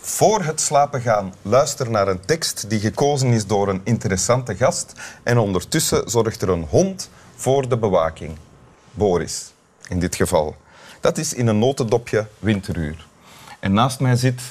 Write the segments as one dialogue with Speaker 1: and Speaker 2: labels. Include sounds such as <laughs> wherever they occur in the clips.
Speaker 1: Voor het slapen gaan, luister naar een tekst die gekozen is door een interessante gast. En ondertussen zorgt er een hond voor de bewaking. Boris, in dit geval. Dat is in een notendopje winteruur. En naast mij zit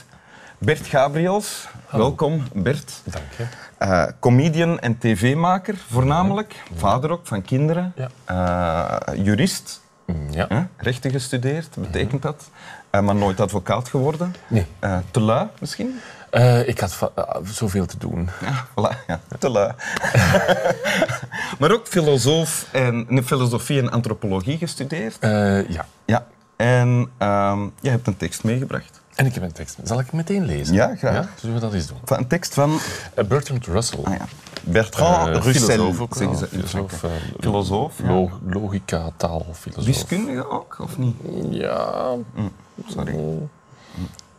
Speaker 1: Bert Gabriels. Welkom, Bert.
Speaker 2: Dank je.
Speaker 1: Eh, comedian en tv-maker voornamelijk. Vader ook van kinderen. Eh, jurist.
Speaker 2: Mm, Ja.
Speaker 1: Hè? Rechten gestudeerd, betekent dat. Eh, maar nooit advocaat geworden.
Speaker 2: Mhm. Nee.
Speaker 1: Eh, te lui misschien?
Speaker 2: Eh, ik had va- ah, zoveel te doen.
Speaker 1: Ja, <laughs> voilà, ja, te lui. <laughs> maar ook filosoof en nee, filosofie en antropologie gestudeerd.
Speaker 2: Eh, ja.
Speaker 1: Ja. En ehm, jij hebt een tekst meegebracht.
Speaker 2: En ik heb een tekst. Zal ik hem meteen lezen?
Speaker 1: Ja, graag.
Speaker 2: Zullen we dat eens doen?
Speaker 1: Van een tekst van
Speaker 2: Eh, Bertrand Russell.
Speaker 1: ah ja, Bertrand
Speaker 2: Eh,
Speaker 1: Russell,
Speaker 2: filosoof ook
Speaker 1: zeggen ze
Speaker 2: wel.
Speaker 1: in
Speaker 2: Filosoof,
Speaker 1: Frankrijk.
Speaker 2: eh,
Speaker 1: Filosoof, ja.
Speaker 2: Lo- logica, taal, filosoof.
Speaker 1: Wiskundige ook, of niet?
Speaker 2: Ja.
Speaker 1: Sorry.
Speaker 2: mm.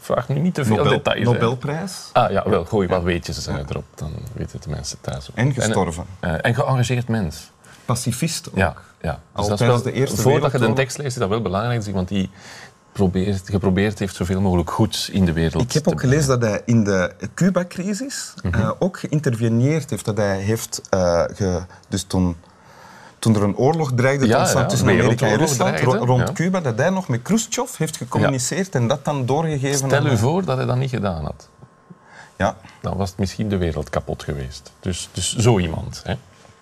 Speaker 2: Vraag nu niet te veel
Speaker 1: Nobel,
Speaker 2: details. hè.
Speaker 1: Nobelprijs.
Speaker 2: Ah ja, wel. Gooi wat weetjes eh, erop. Dan weten de mensen thuis ook.
Speaker 1: En gestorven.
Speaker 2: En, eh, en geëngageerd mens.
Speaker 1: Pacifist ook.
Speaker 2: Ja, ja.
Speaker 1: Al
Speaker 2: Dus dat is
Speaker 1: tijdens
Speaker 2: wel-
Speaker 1: de Eerste
Speaker 2: voordat je de
Speaker 1: Wereldoorlog.
Speaker 2: tekst leest, is dat wel belangrijk dat iemand die probeert, geprobeerd heeft zoveel mogelijk goeds in de wereld
Speaker 1: Ik heb
Speaker 2: te
Speaker 1: ook gelezen dat hij in de Cuba-crisis
Speaker 2: Mhm.
Speaker 1: eh, ook geïnterveneerd heeft. Dat hij heeft, eh, ge- dus toen, toen er een oorlog dreigde te
Speaker 2: Ja,
Speaker 1: ontstaan
Speaker 2: ja,
Speaker 1: tussen
Speaker 2: een
Speaker 1: Amerika en
Speaker 2: wereldoorlog
Speaker 1: Rusland
Speaker 2: dreigde,
Speaker 1: ro- rond
Speaker 2: ja.
Speaker 1: Cuba, dat hij nog met Khrushchev heeft gecommuniceerd en dat dan doorgegeven
Speaker 2: Stel
Speaker 1: aan-
Speaker 2: u voor dat hij dat niet gedaan had.
Speaker 1: Ja,
Speaker 2: Dan was het misschien de wereld kapot geweest. Dus, dus zo iemand. Hè?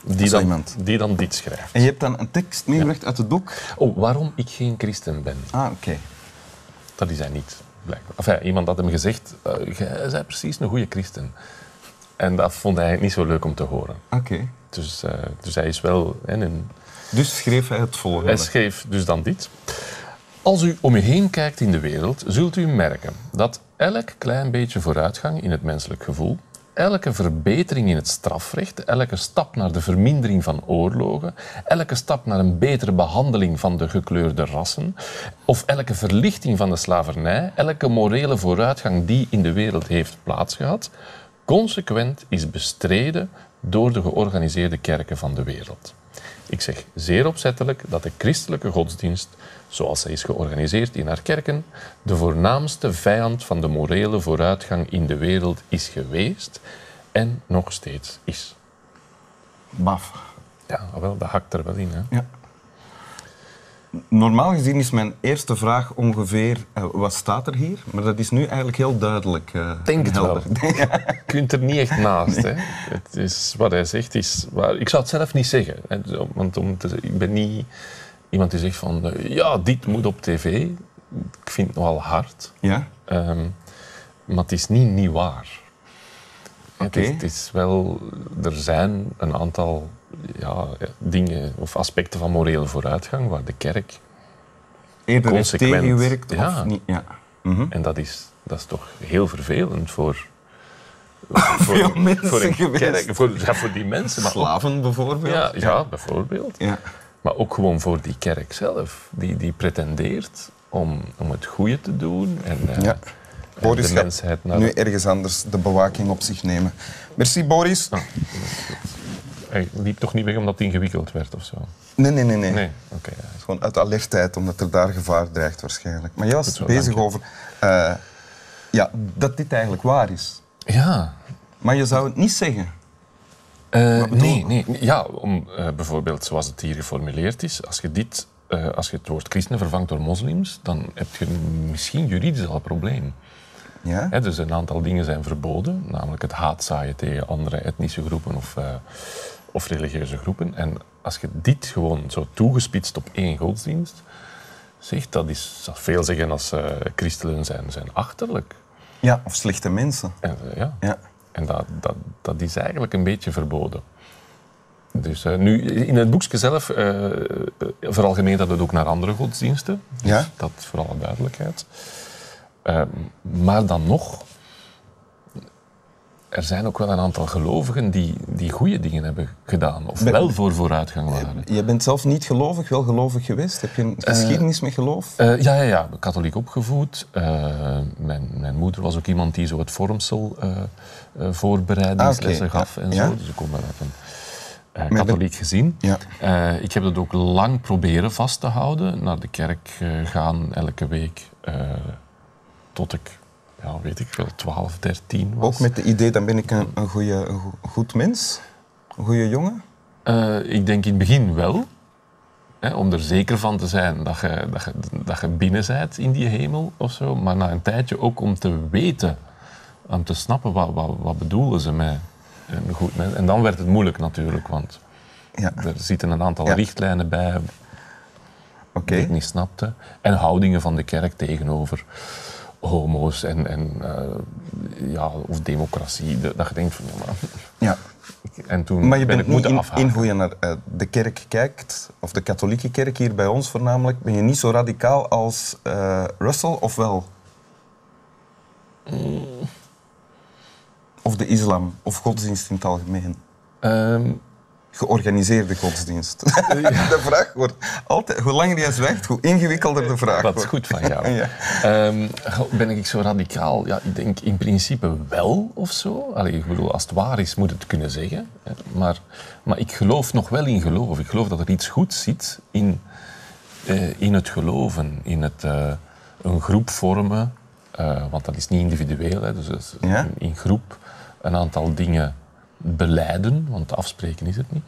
Speaker 2: Die,
Speaker 1: Zo
Speaker 2: dan,
Speaker 1: iemand.
Speaker 2: die dan dit schrijft.
Speaker 1: en je hebt dan een tekst meegebracht uit het boek.
Speaker 2: Oh, waarom ik geen christen ben,
Speaker 1: Ah, oké.
Speaker 2: dat is hij niet. Blijkbaar. Enfin, iemand had hem gezegd, eh, jij bent precies een goede christen. En dat vond hij niet zo leuk om te horen.
Speaker 1: Oké.
Speaker 2: Dus, eh, dus hij is wel hè, een,
Speaker 1: Dus schreef hij het volgende.
Speaker 2: Hij schreef dus dan dit. Als u om u heen kijkt in de wereld, zult u merken dat elk klein beetje vooruitgang in het menselijk gevoel, elke verbetering in het strafrecht, elke stap naar de vermindering van oorlogen, elke stap naar een betere behandeling van de gekleurde rassen, of elke verlichting van de slavernij, elke morele vooruitgang die in de wereld heeft plaatsgehad, consequent is bestreden door de georganiseerde kerken van de wereld. Ik zeg zeer opzettelijk dat de christelijke godsdienst, zoals zij is georganiseerd in haar kerken, de voornaamste vijand van de morele vooruitgang in de wereld is geweest en nog steeds is.
Speaker 1: Baf.
Speaker 2: Ja, wel, dat hakt er wel in. Hè?
Speaker 1: Ja. Normaal gezien is mijn eerste vraag ongeveer, eh, wat staat er hier? Maar dat is nu eigenlijk heel duidelijk. eh,
Speaker 2: Denk
Speaker 1: en
Speaker 2: het
Speaker 1: helder.
Speaker 2: Je kunt er niet echt naast. Hè? Het is, wat hij zegt is waar. Ik zou het zelf niet zeggen. hè, Want om te, ik ben niet iemand die zegt van eh, ja, dit moet op tv. Ik vind het nogal hard.
Speaker 1: Ja?
Speaker 2: Ehm, maar het is niet niet waar. Het,
Speaker 1: Oké.
Speaker 2: is, het is wel, er zijn een aantal ja, dingen of aspecten van morele vooruitgang waar de kerk,
Speaker 1: Eerder heeft
Speaker 2: Consequent.
Speaker 1: tegengewerkt of
Speaker 2: Ja.
Speaker 1: niet? Ja. Mhm.
Speaker 2: en dat is, dat is toch heel
Speaker 1: <laughs>
Speaker 2: vervelend voor, voor,
Speaker 1: Veel mensen
Speaker 2: voor een
Speaker 1: geweest.
Speaker 2: kerk, voor, ja, voor die mensen. Maar ook-
Speaker 1: Slaven bijvoorbeeld.
Speaker 2: ja, ja, bijvoorbeeld.
Speaker 1: Ja.
Speaker 2: Maar ook gewoon voor die kerk zelf, die, die pretendeert om, om het goede te doen en, eh,
Speaker 1: Ja.
Speaker 2: en
Speaker 1: Boris
Speaker 2: de
Speaker 1: gaat
Speaker 2: mensheid naar
Speaker 1: Nu ergens anders de bewaking op zich nemen. Merci Boris.
Speaker 2: Ah. Hij liep toch niet weg omdat hij ingewikkeld werd of zo?
Speaker 1: Nee, nee, nee, nee.
Speaker 2: Nee, oké. ja.
Speaker 1: Gewoon uit alertheid, omdat er daar gevaar dreigt waarschijnlijk. Maar jij was
Speaker 2: wel,
Speaker 1: bezig
Speaker 2: dank je.
Speaker 1: over eh, ja, dat dit eigenlijk waar is.
Speaker 2: Ja,
Speaker 1: Maar je zou het niet zeggen.
Speaker 2: eh,
Speaker 1: bedoel
Speaker 2: nee,
Speaker 1: je?
Speaker 2: nee. Ja, om, eh, bijvoorbeeld zoals het hier geformuleerd is, als je, dit, eh, als je het woord christenen vervangt door moslims, dan heb je misschien juridisch al een probleem.
Speaker 1: Ja?
Speaker 2: Hè, dus een aantal dingen zijn verboden, namelijk het haatzaaien tegen andere etnische groepen of, eh, of religieuze groepen. En als je dit gewoon zo toegespitst op één godsdienst zegt, dat is zou veel zeggen als eh, christenen zijn, zijn achterlijk.
Speaker 1: ja, of slechte mensen.
Speaker 2: En, eh, ja.
Speaker 1: Ja.
Speaker 2: En dat, dat, dat is eigenlijk een beetje verboden. Dus eh, nu, in het boekje zelf eh eh, veralgemeent dat het ook naar andere godsdiensten. Dus
Speaker 1: Ja.
Speaker 2: Dat voor alle duidelijkheid. Eh, maar dan nog, er zijn ook wel een aantal gelovigen die, die goede dingen hebben gedaan. Of wel voor vooruitgang waren.
Speaker 1: Je bent zelf niet gelovig, wel gelovig geweest. Heb je een geschiedenis met geloof?
Speaker 2: Eh, ja, ja, ja, katholiek opgevoed. Eh, mijn, mijn moeder was ook iemand die zo het vormsel eh, eh, voorbereidingslessen
Speaker 1: Ah, oké.
Speaker 2: gaf en
Speaker 1: Ja.
Speaker 2: zo. Dus ik kom wel uit een eh,
Speaker 1: Met
Speaker 2: katholiek gezin.
Speaker 1: Ja.
Speaker 2: Eh, ik heb dat ook lang proberen vast te houden. Naar de kerk eh, gaan elke week. eh, tot ik ja, weet ik wel, 12, 13 was.
Speaker 1: Ook met het idee, dan ben ik een, een, goeie, een go- goed mens, een goede jongen.
Speaker 2: Eh, ik denk in het begin wel. Hè, om er zeker van te zijn dat je, dat, je, dat je binnen bent in die hemel of zo. Maar na een tijdje ook om te weten, om te snappen wat, wat, wat bedoelen ze mij. En, goed, hè, en dan werd het moeilijk natuurlijk, want
Speaker 1: Ja, oké.
Speaker 2: er zitten een aantal
Speaker 1: Ja.
Speaker 2: richtlijnen bij die ik niet snapte. En houdingen van de kerk tegenover homo's en, en eh, ja, of democratie. Dat je denkt van, ja, maar...
Speaker 1: Ja.
Speaker 2: En toen
Speaker 1: Maar je
Speaker 2: ben
Speaker 1: bent
Speaker 2: ik
Speaker 1: niet
Speaker 2: moeten
Speaker 1: in,
Speaker 2: afhaken.
Speaker 1: in hoe je naar eh, de kerk kijkt, of de katholieke kerk hier bij ons voornamelijk, ben je niet zo radicaal als eh, Russell, of wel? Of de islam, of godsdienst in het algemeen.
Speaker 2: Ehm,
Speaker 1: Georganiseerde
Speaker 2: <laughs>
Speaker 1: godsdienst. de vraag wordt altijd, hoe langer jij zwijgt, hoe ingewikkelder de vraag
Speaker 2: Dat is
Speaker 1: wordt.
Speaker 2: goed van
Speaker 1: <laughs>
Speaker 2: jou.
Speaker 1: Ja.
Speaker 2: <laughs> Ehm, goh, ben ik zo radicaal? Ja, ik denk in principe wel of zo. Allee, ik bedoel, als het waar is, moet het kunnen zeggen. hè. Maar, maar ik geloof nog wel in geloof. Ik geloof dat er iets goeds zit in, eh, in het geloven, in het eh, een groep vormen. eh, want dat is niet individueel, hè, dus dat is
Speaker 1: Ja.
Speaker 2: in, in groep een aantal dingen beleiden, want afspreken is het niet.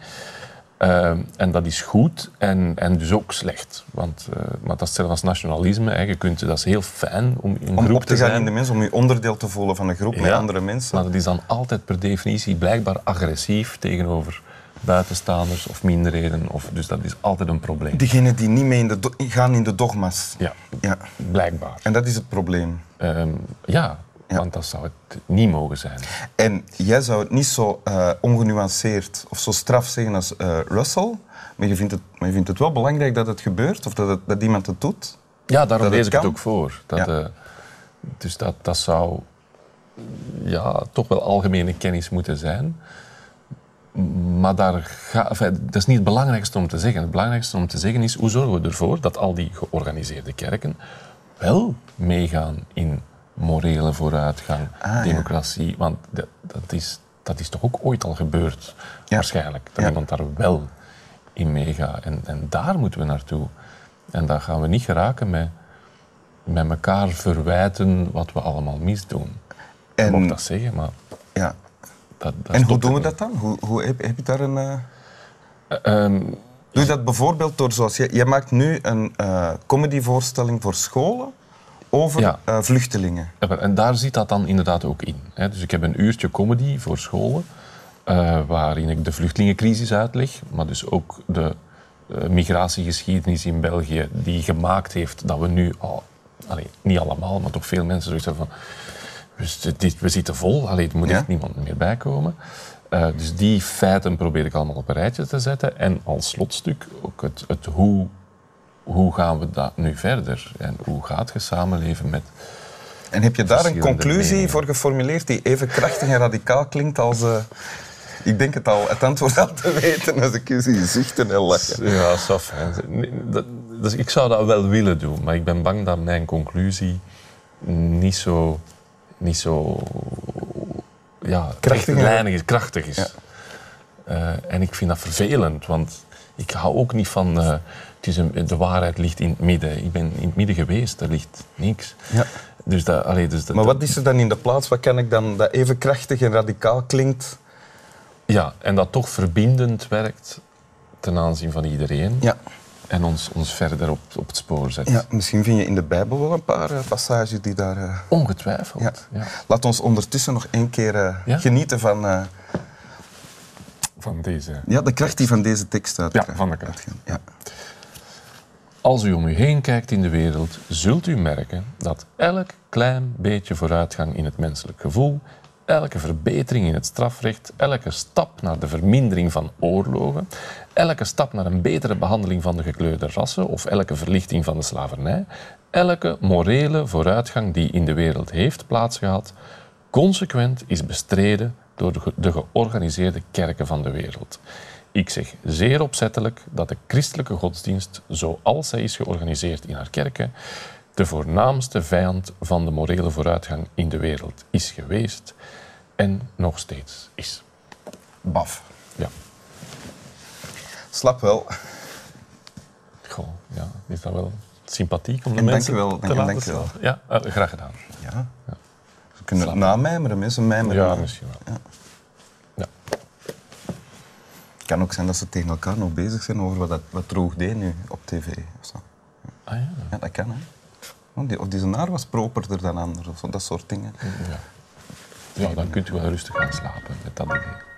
Speaker 2: Ehm, en dat is goed en, en dus ook slecht. Want, eh, maar dat is hetzelfde als nationalisme. Hè. Je kunt, dat is heel fijn om in
Speaker 1: Om
Speaker 2: groep
Speaker 1: op te gaan
Speaker 2: zijn.
Speaker 1: in de mens, om je onderdeel te voelen van een groep met
Speaker 2: Ja.
Speaker 1: andere mensen.
Speaker 2: Maar dat is dan altijd per definitie blijkbaar agressief tegenover buitenstaanders of minderheden. Of, dus dat is altijd een probleem.
Speaker 1: Degenen die niet mee in de do- gaan in de dogma's.
Speaker 2: Ja,
Speaker 1: Ja.
Speaker 2: blijkbaar.
Speaker 1: En dat is het probleem.
Speaker 2: Ehm, ja, want dat zou het niet mogen zijn.
Speaker 1: En jij zou het niet zo eh, ongenuanceerd of zo straf zeggen als eh, Russell, maar je, vindt het, maar je vindt het wel belangrijk dat het gebeurt of dat, het- dat iemand het doet.
Speaker 2: Ja, daarom
Speaker 1: Dat het
Speaker 2: lees ik het
Speaker 1: kan?
Speaker 2: ook voor. Dat,
Speaker 1: Ja.
Speaker 2: eh, dus dat, dat zou ja, toch wel algemene kennis moeten zijn. Maar daar ga, enfin, dat is niet het belangrijkste om te zeggen. Het belangrijkste om te zeggen is hoe zorgen we ervoor dat al die georganiseerde kerken wel meegaan in morele vooruitgang,
Speaker 1: Ah, ja.
Speaker 2: democratie. Want dat, dat, is, dat is toch ook ooit al gebeurd,
Speaker 1: Ja.
Speaker 2: waarschijnlijk. Dat
Speaker 1: Ja.
Speaker 2: iemand daar wel in meegaat. En, en daar moeten we naartoe. En daar gaan we niet geraken met, met elkaar verwijten wat we allemaal misdoen. Ik mocht
Speaker 1: En,
Speaker 2: dat zeggen, maar
Speaker 1: ja.
Speaker 2: dat, dat
Speaker 1: en hoe
Speaker 2: stopt
Speaker 1: doen we dat
Speaker 2: het
Speaker 1: dan? Hoe, hoe heb, heb je daar een. eh,
Speaker 2: niet. Ehm,
Speaker 1: Doe je dat bijvoorbeeld door zoals jij, jij maakt nu een eh comedyvoorstelling voor scholen over
Speaker 2: Ja.
Speaker 1: eh, vluchtelingen.
Speaker 2: En daar zit dat dan inderdaad ook in. Hè. Dus ik heb een uurtje comedy voor scholen, eh, waarin ik de vluchtelingencrisis uitleg, maar dus ook de eh, migratiegeschiedenis in België, die gemaakt heeft dat we nu al, allee, niet allemaal, maar toch veel mensen zoiets hebben van, dus dit- dit, we zitten vol, allee, er moet
Speaker 1: Ja.
Speaker 2: echt niemand meer bij komen. Eh, dus die feiten probeer ik allemaal op een rijtje te zetten. En als slotstuk ook het, het hoe, hoe gaan we dat nu verder? En hoe gaat je samenleven met
Speaker 1: En heb je daar een
Speaker 2: Verschillende
Speaker 1: conclusie
Speaker 2: meningen.
Speaker 1: voor geformuleerd die even krachtig en radicaal klinkt als. eh, ik denk het al, het antwoord al te weten als ik je zie zuchten en lachen.
Speaker 2: Ja, dat zou fijn zijn. Nee, dat- Dus ik zou dat wel willen doen, maar ik ben bang dat mijn conclusie niet zo, niet zo ja,
Speaker 1: Krachtig,
Speaker 2: rechtlijnig is, krachtig is. Eh, en ik vind dat vervelend, want ik hou ook niet van... eh, het is een, de waarheid ligt in het midden. Ik ben in het midden geweest, er ligt niks.
Speaker 1: Ja.
Speaker 2: Dus dat, allee, dus dat,
Speaker 1: Maar wat is er dan in de plaats? Wat kan ik dan dat even krachtig en radicaal klinkt?
Speaker 2: Ja, en dat toch verbindend werkt ten aanzien van iedereen.
Speaker 1: Ja.
Speaker 2: En ons, ons verder op, op het spoor zet.
Speaker 1: ja, misschien vind je in de Bijbel wel een paar eh, passages die daar. eh,
Speaker 2: Ongetwijfeld.
Speaker 1: Ja.
Speaker 2: Ja.
Speaker 1: Laat ons ondertussen nog één keer eh,
Speaker 2: Ja?
Speaker 1: genieten van eh,
Speaker 2: Van deze.
Speaker 1: ja, de kracht die van deze tekst uit.
Speaker 2: Ja, van de kracht.
Speaker 1: Ja.
Speaker 2: Als u om u heen kijkt in de wereld, zult u merken dat elk klein beetje vooruitgang in het menselijk gevoel, elke verbetering in het strafrecht, elke stap naar de vermindering van oorlogen, elke stap naar een betere behandeling van de gekleurde rassen of elke verlichting van de slavernij, elke morele vooruitgang die in de wereld heeft plaatsgehad, consequent is bestreden door de, ge- de georganiseerde kerken van de wereld. Ik zeg zeer opzettelijk dat de christelijke godsdienst, zoals zij is georganiseerd in haar kerken, de voornaamste vijand van de morele vooruitgang in de wereld is geweest en nog steeds is.
Speaker 1: Baf.
Speaker 2: Ja,
Speaker 1: Slap wel.
Speaker 2: goh, ja, is dat wel sympathiek om de
Speaker 1: En
Speaker 2: mensen
Speaker 1: dankjewel,
Speaker 2: te
Speaker 1: dank-
Speaker 2: laten
Speaker 1: dankjewel.
Speaker 2: slapen? Ja, eh, graag gedaan.
Speaker 1: Ja. kunnen het namijmeren, hè. ze mijmeren.
Speaker 2: Ja,
Speaker 1: maar
Speaker 2: misschien wel. Ja.
Speaker 1: Het kan ook zijn dat ze tegen elkaar nog bezig zijn over wat, dat, wat Droog deed nu op tv. Of zo.
Speaker 2: Ah ja.
Speaker 1: Ja, dat kan, hè. Oh, die- Of die zijn haar was properder dan anders, of zo, dat soort dingen.
Speaker 2: Ja. ja, dan kunt u wel rustig gaan slapen met dat idee.